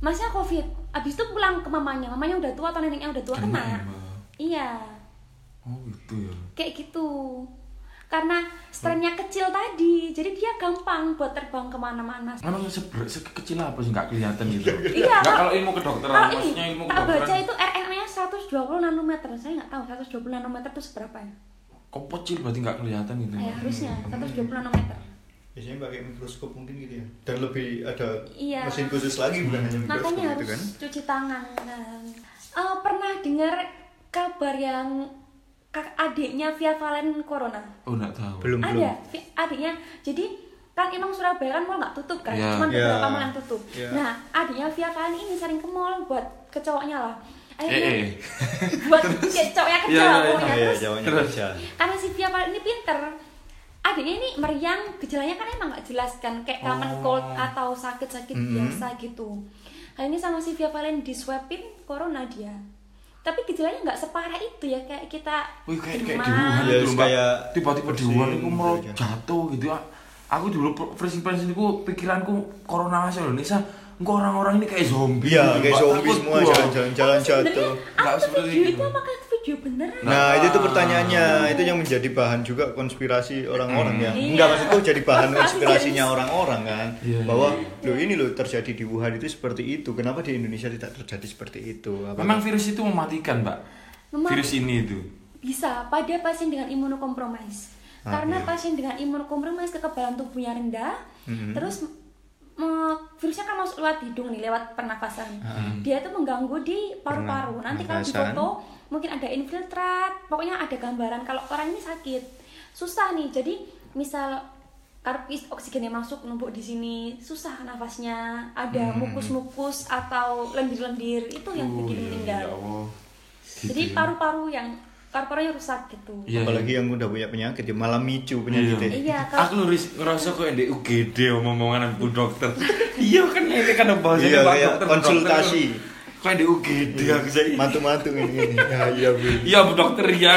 masnya COVID, abis itu pulang ke mamanya, mamanya udah tua atau neneknya udah tua kena. Kena, ya, Mbak. Iya Oh gitu ya. kayak gitu karena strengthnya kecil tadi jadi dia gampang buat terbang kemana-mana Emang seber, sekecil apa sih nggak kelihatan gitu? Iya, Nggak, kalau- kalau ilmu kedokteran, kalau maksudnya ini ilmu tak kedokteran. baca itu RNA nya 120 nanometer saya nggak tahu 120 nanometer itu seberapa ya Kok kecil berarti nggak kelihatan gitu? Eh, Mbak? harusnya 120 nanometer Biasanya pakai mikroskop mungkin gitu ya. Dan lebih ada Iya. mesin khusus lagi bukan hanya mikroskop makanya gitu harus kan. cuci tangan Nah, eh, pernah dengar kabar yang kak adiknya Via Valen Corona Oh nggak tahu. Belum belum. ada Iya, Vi- adiknya jadi kan emang Surabaya kan mall nggak tutup kan Iya. cuman Iya. beberapa mall yang tutup Ya. Iya. nah adiknya via kali ini sering ke mall buat ke cowoknya lah Eh, eh. akhirnya buat ke cowoknya ke Iya, iya, cowok iya. pokoknya. Oh, iya, Terus jawabnya Terus. kerja. karena si via kali ini pinter adiknya ini meriang gejalanya kan emang nggak jelas kan kayak common Oh. cold atau sakit-sakit biasa gitu kali ini sama si via Valen di swabin corona dia tapi gejalanya nggak separah itu ya kayak kita Wih kayak kayak ya. di demam. Wuhan Iya, itu mbak. kayak Tiba-tiba di Wuhan bersin, aku merot gitu aja. jatuh gitu. ah. Aku dulu freezing freezing aku pikiranku corona asal Indonesia. Engkau orang-orang ini kayak zombie. Iya, gitu, kayak Mbak. zombie Takut semua gua. jalan-jalan sebenarnya jatuh. Nggak apa tuh seperti gitu. video itu. itu apakah video beneran Nah, itu tuh pertanyaannya. Itu yang menjadi bahan juga konspirasi orang-orang ya. Iya. Enggak maksudku jadi bahan Konspirasi konspirasinya jadi- orang-orang kan. Iya. Bahwa lo ini lo terjadi di Wuhan itu seperti itu. Kenapa di Indonesia tidak terjadi seperti itu? Apa- Memang virus itu mematikan mbak. Memang- Virus ini itu. bisa pada pasien dengan imunokompromis Ah, karena iya. pasien dengan imunokompromis kekebalan tubuhnya rendah Mm-hmm. terus me- virusnya kan masuk lewat hidung nih lewat pernafasan dia itu mengganggu di paru-paru nanti kalau di Mm-hmm. Pernafasan. foto mungkin ada infiltrat pokoknya ada gambaran kalau orang ini sakit susah nih jadi misal karpis oksigennya masuk numpuk di sini susah nafasnya ada Mm-hmm. mukus-mukus atau lendir-lendir itu yang Oh, bikin iya, ya meninggal ya Allah. Gitu jadi ya. paru-paru yang paru-parunya rusak gitu Iya, apalagi yang udah punya penyakit ya malah micu gitu ya. Iya. penyakitnya Iya, kalau- Aku ngeris- ngerasa kok yang di UGD omong-omongan bu dokter. iya kan ini kan bahasanya Iya, Pak kayak dokter, Bu konsultasi. Iya. dokter. Kok yang di UGD aku saya. matu-matu ini ya iya Bu. Iya bu dokter iya.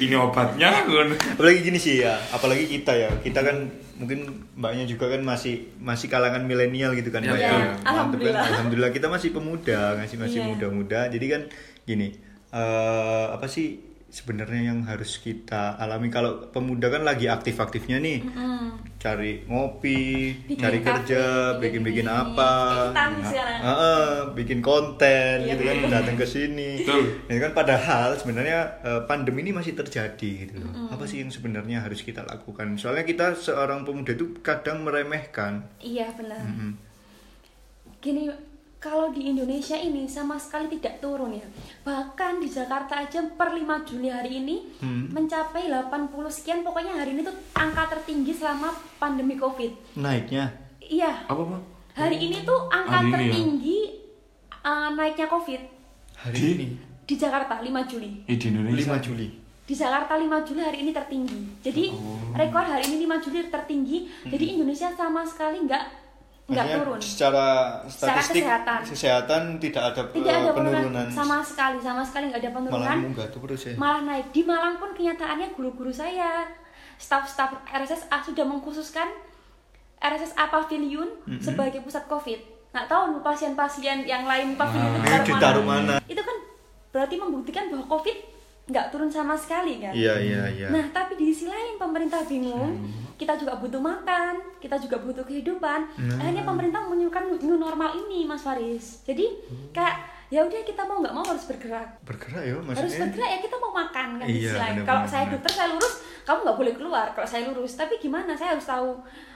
ini obatnya kan. apalagi gini sih ya apalagi kita ya kita kan mungkin mbaknya juga kan masih masih kalangan milenial gitu kan Iya, mbak iya. Mantep kan? Alhamdulillah. alhamdulillah kita masih pemuda masih masih Iya. muda-muda jadi kan gini eh, apa sih sebenarnya yang harus kita alami kalau pemuda kan lagi aktif-aktifnya nih cari ngopi Bikin cari kafe, kerja bikin- bikin-bikin bikin apa Nah, ikutan sekarang. Heeh, bikin konten Iya, gitu kan datang ke sini Betul. Ya kan padahal sebenarnya eh, pandemi ini masih terjadi gitu loh. Apa sih yang sebenarnya harus kita lakukan? Soalnya kita seorang pemuda itu kadang meremehkan. Iya benar. Hmm. Gini, kalau di Indonesia ini sama sekali tidak turun ya. Bahkan di Jakarta aja per 5 Juli hari ini Hmm. mencapai 80 sekian. Pokoknya hari ini tuh angka tertinggi selama pandemi Covid. Naiknya. Iya. Apa pak? Hari ini tuh angka Hari ini ya? tertinggi eh, naiknya Covid Hari Di? ini di Jakarta 5 Juli. Eh, di Indonesia. 5 Juli. Di Jakarta 5 Juli hari ini tertinggi. Jadi Oh. rekor hari ini 5 Juli tertinggi. Jadi Indonesia sama sekali nggak nggak Hmm. turun. Maksudnya Secara Secara statistik kesehatan. kesehatan tidak ada, eh, tidak ada penurunan penurunan. sama sekali sama sekali nggak ada Malah penurunan munggah terus ya. malah naik di Malang pun kenyataannya guru-guru saya staf-staf RSSA sudah mengkhususkan RSSA Pavilion Hmm. sebagai pusat COVID nggak tahu nih pasien-pasien yang lain pavilion Nah, itu Ini ditaruh mana? itu kan berarti membuktikan bahwa COVID nggak turun sama sekali kan Iya, iya, iya. Nah, tapi di sisi lain pemerintah bingung, Hmm. kita juga butuh makan, kita juga butuh kehidupan. Nah. Akhirnya pemerintah menyukan new normal ini, Mas Faris. Jadi Hmm. kayak ya udah kita mau nggak mau harus bergerak. Bergerak ya Harus maksudnya. bergerak ya kita mau makan kan di Iya, sisi lain. benar-benar. Kalau saya dokter saya lurus, kamu nggak boleh keluar. Kalau saya lurus, tapi gimana? Saya harus tahu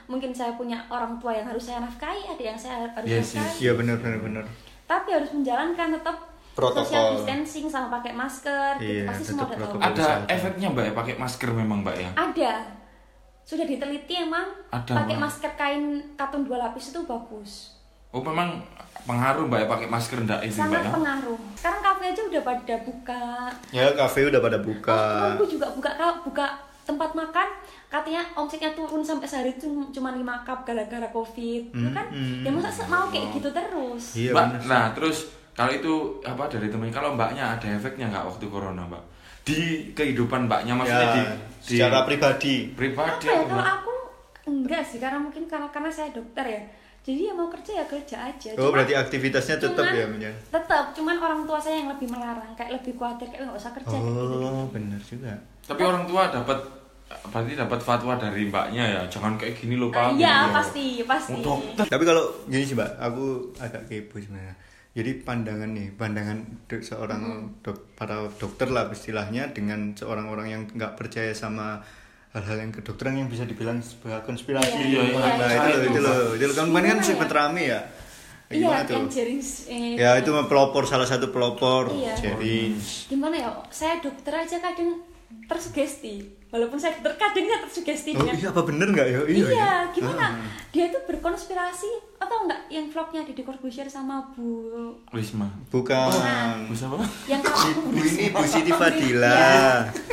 mungkin saya punya orang tua yang harus saya nafkahi, ada yang saya harus Yes, nafkahi. Iya benar benar benar. Tapi harus menjalankan tetap Protokol. social distancing sama pakai masker, gitu. Iya, pasti semua udah tetap tahu. protokol. Ada efeknya mbak ya pakai masker memang mbak ya. Ada. Sudah diteliti emang Ada, pakai Mbak. masker kain katun dua lapis itu bagus. Oh memang pengaruh mbak ya pakai masker ndak itu mbak Sangat ya. pengaruh. Sekarang kafe aja udah pada buka. Ya kafe udah pada buka. Ya, Temanku juga Oh, buka ka- buka tempat makan katanya omsetnya turun sampai sehari itu cuma 5 cup gara-gara covid Itu kan ya masa se- mau kayak gitu terus Hmm, Iya Mbak, benar. nah terus kalau itu apa dari temen kalau mbaknya ada efeknya nggak waktu corona mbak di kehidupan mbaknya maksudnya Ya, di, di secara pribadi. apa pribadi ya apa, kalau Mbak? aku enggak sih karena mungkin karena karena saya dokter ya jadi ya mau kerja ya kerja aja Oh Cuma- berarti aktivitasnya tetap Cuman- ya menjan. tetap cuman orang tua saya yang lebih melarang kayak lebih khawatir kayak nggak usah kerja kayak gitu Oh benar juga. tapi orang tua dapat berarti dapat fatwa dari mbaknya ya jangan kayak gini loh Ah, pak iya ya. Gitu. pasti pasti Iya, Oh, dokter Tapi kalau gini sih mbak, aku agak kepo sebenarnya. Jadi pandangan nih, pandangan do- seorang Hmm. dok- para dokter lah istilahnya dengan seorang orang yang nggak percaya sama hal-hal yang kedokteran yang bisa dibilang sebuah konspirasi. Iya, iya, Nah, iya, itu iya. loh, itu loh, itu loh. Kan kemarin kan Gimana sempat ya? rame ya. iya Gimana tuh? yang jaring eh, Ya itu pelopor salah satu pelopor. Iya. Oh, Jadi gimana ya saya dokter aja kadang tersugesti walaupun saya dokter kadang saya tersugesti oh dengan iya apa bener nggak ya? iya, ya. gimana Ah. dia itu berkonspirasi atau enggak yang vlognya di Corbusier sama Bu Risma Nah. Bukan. bisa apa yang kamu Bu ini Bu Siti Iya. Fadila.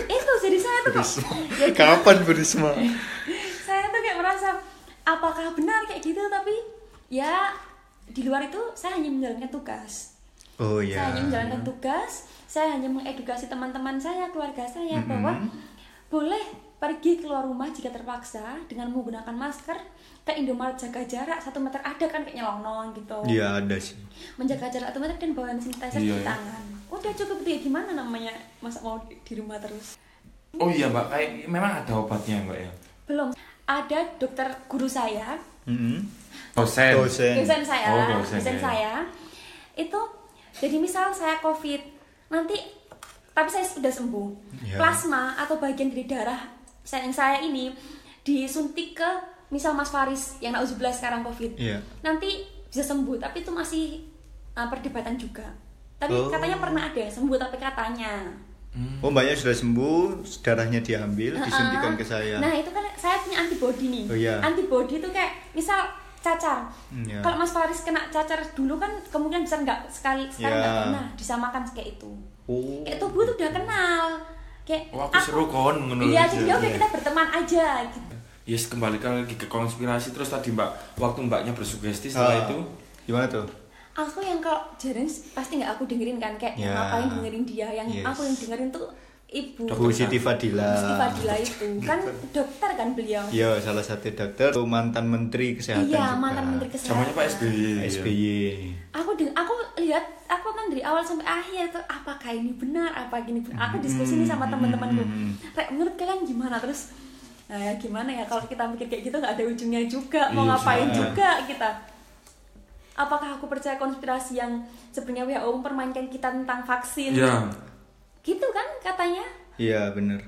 itu jadi saya tuh kok ya Kapan Bu Risma? saya tuh kayak merasa apakah benar kayak gitu tapi ya di luar itu saya hanya menjalankan tugas Oh saya iya. hanya menjalankan tugas saya hanya mengedukasi teman-teman saya keluarga saya bahwa boleh pergi keluar rumah jika terpaksa dengan menggunakan masker ke Indomaret jaga jarak satu meter ada kan kayak nyelonong gitu Iya ada sih. menjaga jarak satu meter dan bawa hand sanitizer Iya, di iya. tangan udah cukup itu ya gimana namanya masa mau di di rumah terus oh iya mbak kayak memang ada obatnya mbak ya belum ada dokter guru saya Mm-mm. dosen Dosen. dosen saya Oh, dosen, dosen ya. saya itu jadi misal saya covid nanti tapi saya sudah sembuh Ya. plasma atau bagian dari darah saya yang saya ini disuntik ke misal Mas Faris yang nauzubillah sekarang covid Iya. nanti bisa sembuh tapi itu masih uh, perdebatan juga tapi Oh. katanya pernah ada yang sembuh tapi katanya Oh mbaknya sudah sembuh, darahnya diambil, Heeh. disuntikan ke Ah, saya. Nah itu kan saya punya antibody nih. Oh, iya. Antibody itu kayak misal cacar. Hmm, iya. Kalau Mas Faris kena cacar dulu kan kemungkinan besar nggak sekali sekarang Iya. nggak pernah disamakan kayak itu. Oh. kayak tubuh tuh udah kenal kayak Wah, Oh, aku seru kon ngono iya lho. jadi ya udah kita berteman aja gitu Yes, kembali ke lagi ke konspirasi terus tadi Mbak, waktu Mbaknya bersugesti Ah, setelah itu gimana tuh? aku yang kalau jarang pasti nggak aku dengerin kan kayak Ya. ngapain dengerin dia yang Yes. aku yang dengerin tuh ibu Dokter Bu Siti Fadila. Siti Fadila itu kan dokter kan beliau Iya, salah satu dokter, tuh mantan menteri kesehatan iya juga. mantan menteri kesehatan zamannya Pak SBY. SBY. aku deng- aku lihat aku kan dari awal sampai akhir tuh apakah ini benar apa gini benar aku diskusi ini Hmm, sama teman-temanku rek menurut kalian gimana terus "Eh, gimana ya kalau kita mikir kayak gitu nggak ada ujungnya juga mau Iya, ngapain sama. juga kita apakah aku percaya konspirasi yang sebenarnya WHO mempermainkan kita tentang vaksin Iya. gitu kan katanya Iya, bener.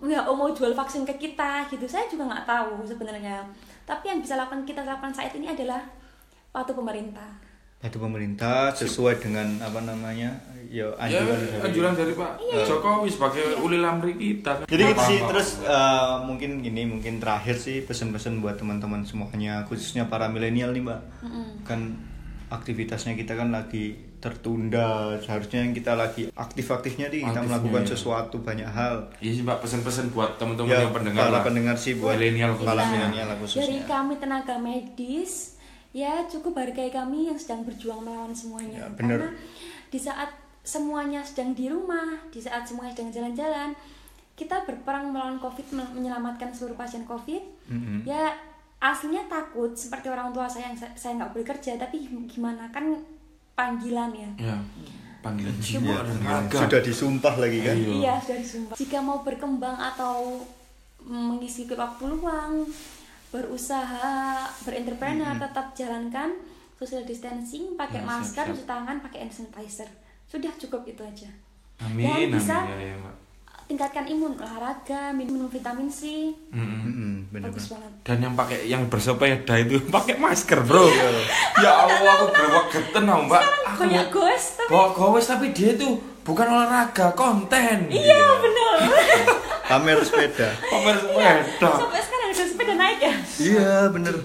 WHO mau jual vaksin ke kita gitu saya juga nggak tahu sebenarnya tapi yang bisa lakukan kita lakukan saat ini adalah patuh pemerintah Patuh pemerintah sesuai dengan apa namanya? Ya, Ya, anjuran. dari- anjuran dari Pak Iya, Jokowi sebagai ulil amri kita. Jadi gitu Apa, sih, Pak? terus eh, mungkin gini, mungkin terakhir sih pesan-pesan buat teman-teman semuanya, khususnya para milenial nih mbak, kan aktivitasnya kita kan lagi tertunda, seharusnya yang kita lagi aktif-aktifnya nih kita Aktifnya, melakukan iya. sesuatu banyak hal. Iya sih Mbak, pesan-pesan buat teman-teman Ya, yang pendengar. para lah. pendengar sih buat milenial khususnya. para Iya, milenial lah Iya, dari khususnya. kami tenaga medis ya cukup hargai kami yang sedang berjuang melawan semuanya Ya, bener. karena di saat semuanya sedang di rumah di saat semuanya sedang jalan-jalan kita berperang melawan covid men- menyelamatkan seluruh pasien covid Mm-hmm. ya aslinya takut seperti orang tua saya yang sa- saya nggak boleh kerja tapi gimana kan panggilan ya Ya. Panggilan jiwa Ya, dan bener. raga. Sudah disumpah lagi kan? Iya. Iya, dari Sumba. Jika mau berkembang atau mengisi waktu luang, berusaha, berentrepreneur, tetap jalankan social distancing, pakai Ya, masker, siap-siap. cuci tangan, pakai hand sanitizer. Sudah cukup itu aja. Amin, Dan amin bisa ya, ya, Mbak. tingkatkan imun, olahraga, minum vitamin C, Mm-mm. Mm-mm, bener. bagus banget. Dan yang pakai yang bersepeda itu pakai masker, Bro. ya Allah, aku berwak geten tau, Mbak. Aku Banyak ghost tapi bawa gowes tapi dia itu bukan olahraga, konten. Iya bener Pamer sepeda. Pamer sepeda. Sampai sekarang ada sepeda naik ya Iya bener.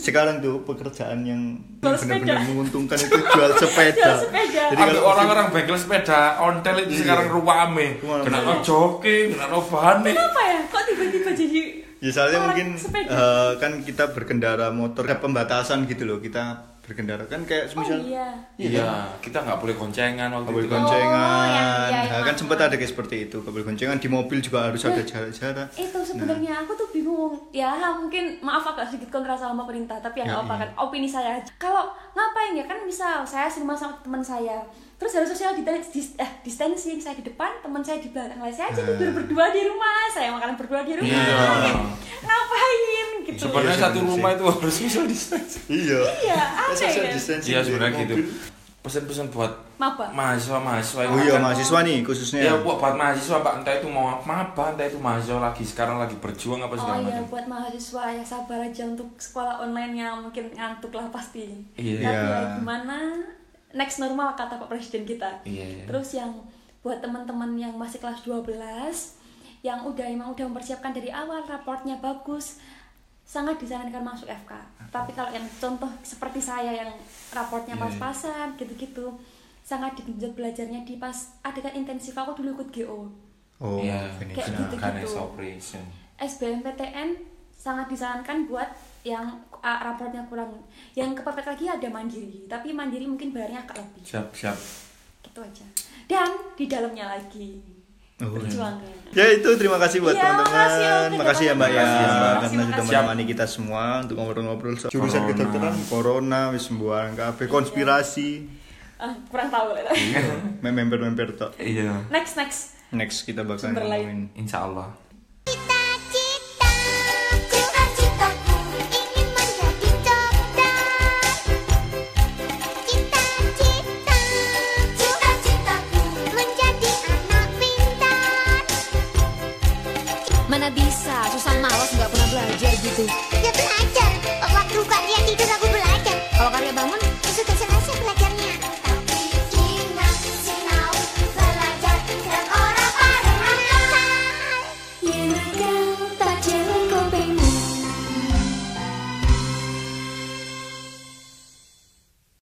Sekarang tuh pekerjaan yang Jual benar-benar sepeda. menguntungkan itu jual sepeda. Jual sepeda. Ambil kalau- orang-orang begal sepeda ontel itu sekarang ruame. Ruame. Kena no joki, kena no bane. Kenapa ya? Kok tiba-tiba jadi Ya soalnya orang mungkin sepeda? eh, kan kita berkendara motor ada pembatasan gitu loh kita berkendara kan kayak Oh semisal iya Oh, ya, Iya, kita nggak boleh goncengan waktu kabel itu. kan. goncengan iya, iya, Nah, kan iya. sempat ada kayak seperti itu kabel goncengan di mobil juga harus ada jarak-jarak itu sebenarnya aku tuh bingung ya mungkin maaf agak sedikit kontra sama perintah tapi yang Ya, apa iya. kan opini saya aja. kalau ngapain ya kan misal saya serumah sama teman saya terus harus sosial dita- dis- eh, distancing saya di depan teman saya di belakang lah saya aja tidur berdua di rumah saya makan berdua di rumah Iya. ngapain gitu Sebenarnya Iya, satu sebenarnya rumah itu harus social distancing. iya Iya, aneh social ya. distancing Iya, di sebenarnya gitu. mobil. Pesan-pesan buat Maba. mahasiswa-mahasiswa yang oh iya akan- mahasiswa nih khususnya Ya buat, buat mahasiswa Pak, entah itu mau maba, entah itu mahasiswa lagi sekarang lagi berjuang apa oh segala iya macam. buat mahasiswa ya sabar aja untuk sekolah online yang mungkin ngantuk lah pasti tapi Iya. ya Iya. gimana next normal kata Pak Presiden kita Iya, iya. terus yang buat teman-teman yang masih kelas 12 yang udah emang udah mempersiapkan dari awal raportnya bagus sangat disarankan masuk FK tapi kalau yang contoh seperti saya yang Iya. raportnya pas-pasan gitu-gitu sangat digenjot belajarnya di pas adegan intensif aku dulu ikut GO oh Iya, finish. Kayak gitu. gitu-gitu. Ganesha operation. SBMPTN sangat disarankan buat yang uh, raportnya kurang. Yang kepepet lagi ada mandiri, tapi mandiri mungkin bayarnya agak lebih. Siap, siap. Gitu aja. Dan di dalamnya lagi Oh, iya. perjuangannya. Ya itu terima kasih buat Iya, makasih, teman-teman. Oki, Makasih ya Mbak ya Makasih ya, Mbak. karena sudah Makasih, menemani kita semua untuk ngobrol-ngobrol soal jurusan Corona. kedokteran, corona, wis sembuhan, kabeh konspirasi, Ah, kurang tahu lah. member-member tok. Iya. next next. Next kita bakal Sumber lain. ngomongin Insya Allah.